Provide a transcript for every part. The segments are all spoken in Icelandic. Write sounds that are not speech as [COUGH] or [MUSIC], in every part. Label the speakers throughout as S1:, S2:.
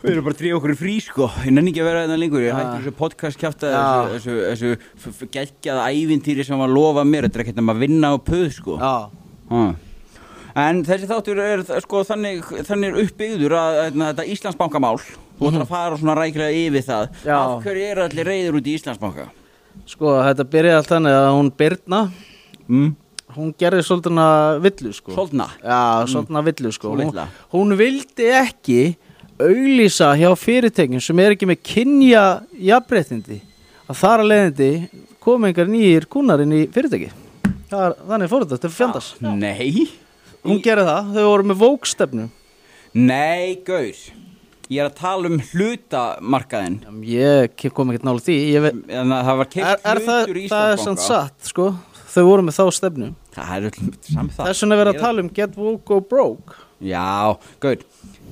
S1: Við erum bara að drífa okkur í frí sko Ég nenni ekki að vera þetta lengur Ég hætti þessu podcast kjafta
S2: Já.
S1: Þessu, þessu, þessu geggjaða ævintýri sem var að lofa mér Þetta er ekkert nema að vinna á puð sko
S2: Já,
S1: ha. En þessi þáttur er sko þannig, þannig er uppbyggður að, að þetta Íslandsbankamál Þú ætlar að fara svona rækilega yfir það
S2: Mhm. Já.
S1: Af hverju eru allir reyður út í Íslandsbanka?
S2: sko, þetta byrjaði allt þannig að hún Birna,
S1: Mm.
S2: hún gerði svolítið hana villu, sko.
S1: Solna Mm.
S2: Já, svolítið hana villu, sko.
S1: Svo litla.
S2: Hún, hún vildi ekki auglýsa hjá fyrirtækjum sem er ekki með kynja jafnbreytindi. Að þar að leiðindi kom engar nýjir kúnar inn í fyrirtæki. Það er, þannig fór þetta, þetta er fjandars.
S1: Nei
S2: Hún gerði það, þau voru með vókstefnu.
S1: Nei, gaur Ég er að tala um hlutamarkaðin
S2: Ég ke- kom ekkert nála því, ég veit...
S1: En það var
S2: Er,
S1: keitt
S2: er það,
S1: hlutur í
S2: það er
S1: Íslandsbanka
S2: samt satt, sko. Þau voru með þá stefnu.
S1: Það er öll- samt það
S2: Þess vegna er verið að tala um get woke go broke
S1: Já, gaur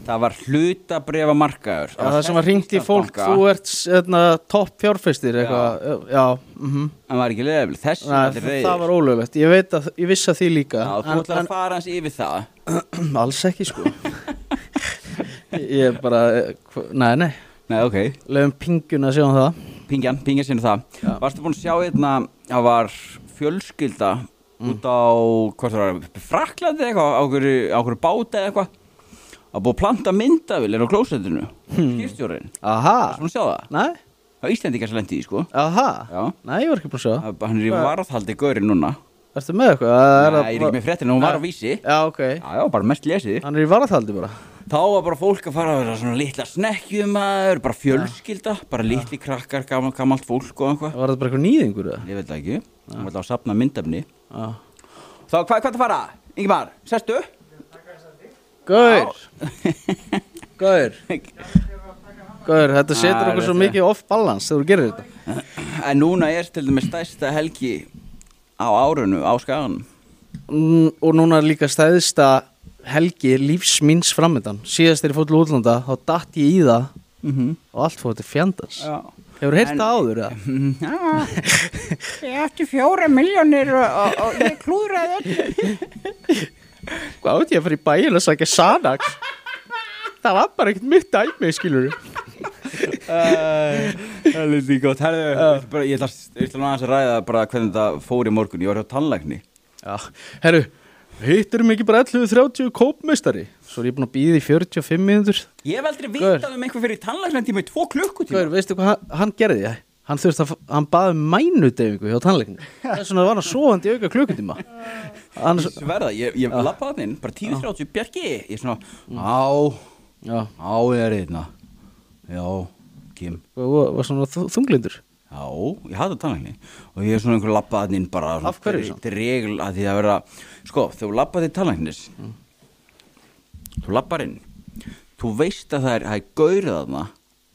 S1: Það var hlutabrefa markaður
S2: Það, sem var ringt í fólk, þú ert eðna, topp fjárfestir eitthvað Já, mm
S1: Það var ekki leðafil, þessi var
S2: það,
S1: allir reyðir
S2: það var ólöflegt, ég veit að ég vissi að því líka
S1: Já, þú
S2: En-
S1: ætlar að fara hans yfir það
S2: en, [CLEARS THROAT] Alls ekki sko [LAUGHS] Ég er bara, eh, hva- nei nei,
S1: Nei, ok
S2: lögum pingjun að sjá um það
S1: Pingjan, pingjan sinni það Varstu búin að sjá hérna Það var fjölskylda
S2: Mm.
S1: Út á, hvað það var, fraklandi eitthvað Á hverju, á hverju báta eða eitthvað Að búið að planta myndavilir á klósettinu
S2: Hmm.
S1: Skýrstjórinn Varstu
S2: Aha,
S1: búin að sjá það?
S2: nei,
S1: Það Íslendingar sem lendi í því, sko
S2: aha,
S1: Já
S2: nei ég var ekki búin að sjá það.
S1: Hann er í varðhaldi gaurinn núna
S2: Ertu með eitthvað? Eða er
S1: Nei, ég
S2: það
S1: er ekki
S2: bara-
S1: með fréttina, hún var á
S2: Nei.
S1: vísi Já,
S2: Já, ok,
S1: já, bara mest lesið
S2: hann er í varðhaldi bara
S1: Þá var bara fólk að fara að vera svona litla snekkjum maður, bara fjölskylda, bara litli krakkar, gaman, gamalt fólk og einhvað
S2: Var þetta bara eitthvað nýðingur eða?
S1: Ég veit það ekki, hún var alltaf að sapna myndafni
S2: Já.
S1: Þá, hvað, hvað það fara? Ingmar, [LAUGHS] sestu?
S2: Gaur, gaur Gaur, þetta
S1: Ah,
S2: setur okkur svo
S1: þetta-
S2: mikið off balance þegar þú gerir þetta
S1: En núna er til dæmis stærsta helgi á árunu, á skaganum
S2: mm, Og núna er líka stæðista helgi lífs míns framöndan Síðast þegar ég fór til útlanda þá datt ég í það
S1: mm -hmm.
S2: og allt fór til fjandans
S1: Já
S2: Hefur heyrt
S1: En-
S2: það áður eða?
S1: Ég ætti fjóra miljónir og, og, og ég klúðraði öll
S2: Hvað átti ég að fara í bæin og sækja sanax? það var bara ekkert mitt dæmi, skilur
S1: Það er líka gott, herðu, ég ætla bara- ég ætla ég ætla nú aðeins að ræða bara hvernig þetta fór í morgun, ég var hjá tannlækni
S2: Já, herru, hitturum ekki bara 11.30 kópmeistari Svo er ég búin að býða í 45 minútur
S1: Ég hef aldrei
S2: Gaur.
S1: vitað um einhver fyrir tannlæknandíma í tvo klukkutíma
S2: Gaur, veistu hvað hann, hann gerði? Hann þurfti að, f- hann baði mænudefingu hjá tannleikinu. Þess vegna var hann svoandi í auka klukkutíma. Annars,
S1: Sverða, ég, ég
S2: Ah.
S1: lappa það inn, bara 10.30, Bjarki Ég er svona,
S2: Mm.
S1: á,
S2: já,
S1: á ég er einna Já, Kim
S2: og- og- var svona þu- þunglindur.
S1: Já, ég hata tannlækni Og ég er svona einhver lappa það inn bara svona
S2: Af hverju svona?
S1: Þetta er regl að því að vera Sko, þegar þú lappa þig tannlæknis
S2: Mm.
S1: Þú lappar inn Þú veist að það er, það er gaurið þarna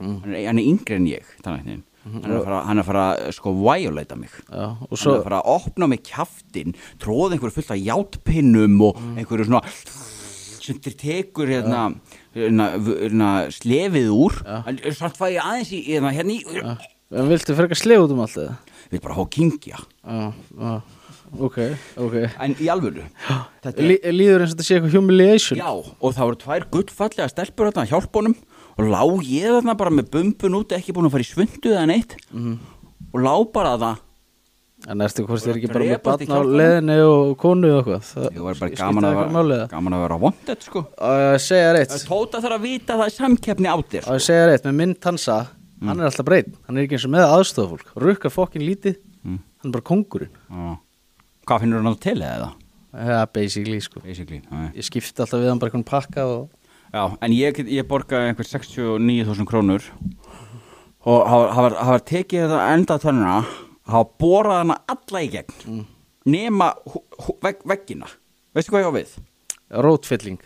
S2: Mm.
S1: hann, er, hann er yngri en ég, tannlæknin
S2: Mm-hmm.
S1: Hann er að fara, hann er að fara sko, violata mig
S2: Já,
S1: Svo...
S2: og
S1: Hann er
S2: svo,
S1: að fara að opna með kjaftin tróða einhverju fullt af játpinnum og
S2: Mm.
S1: einhverju svona sem þeir tekur hérna, hérna, v- hérna slefið úr en samt fæ ég aðeins í hérna, hérna í
S2: já, en viltu frekar sleið út um allt það?
S1: við bara há kingja
S2: Já, já, ok, ok.
S1: en í alvöru þetta er
S2: Lí, líður eins og þetta sé eitthvað humiliation.
S1: Já, og það voru tvær gullfallega stelpur þarna að hjálpa honum og lá ég þarna bara með bumbun út ekki búin að fara í svundu eða neitt
S2: Mhm.
S1: og lá bara þarna
S2: En ertu hvort þér ekki
S1: Bara
S2: bara með
S1: drepast í
S2: batn á
S1: kjálkanum?
S2: leðinu og konu og eitthvað? Það-
S1: ég var bara
S2: skiptir
S1: gaman að,
S2: eitthvað máli
S1: vera,
S2: eða?
S1: gaman að vera vondet sko
S2: Á, ég Segja rétt,
S1: Tóta þarf að vita að það er samkeppni á þér
S2: að segja rétt, með mynd tansa,
S1: Mm.
S2: hann er alltaf breytt, hann er ekki eins og með aðstofafólk, rukkar fokkin lítið,
S1: Mm.
S2: hann er bara kongurinn.
S1: Já. Hvað finnur hann til eða?
S2: Já, basically sko
S1: Basically, já.
S2: Ég skipti alltaf við hann bara einhvern pakka og
S1: já en ég, get- ég borgaði einhver 69.000 krónur og það var- það var- það var tekið þetta enda tönnuna, það var borað hana alla í gegn, nema hú- hú- vegg, veggina. Veistu hvað ég á við?
S2: rótfylling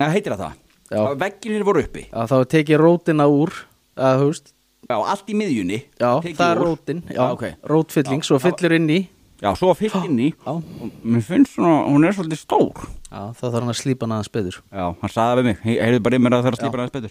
S1: Nei, heitir það það?
S2: Já.
S1: Það var- Vegginir voru uppi,
S2: að þá er tekið rótina úr að þú veist
S1: já, allt í miðjunni.
S2: Já,
S1: tekið
S2: það er
S1: úr.
S2: rótin, já,
S1: Já, ok.
S2: rótfylling, svo fyllir inn í
S1: Já, svo fyllt inn í,
S2: Já.
S1: og mér finnst svona, hún er svolítið stór.
S2: Já, þá þarf hann að slípa hann aðeins betur
S1: Já, hann saði við mig, heyrðu bara í mér að það er að slípa hann aðeins betur.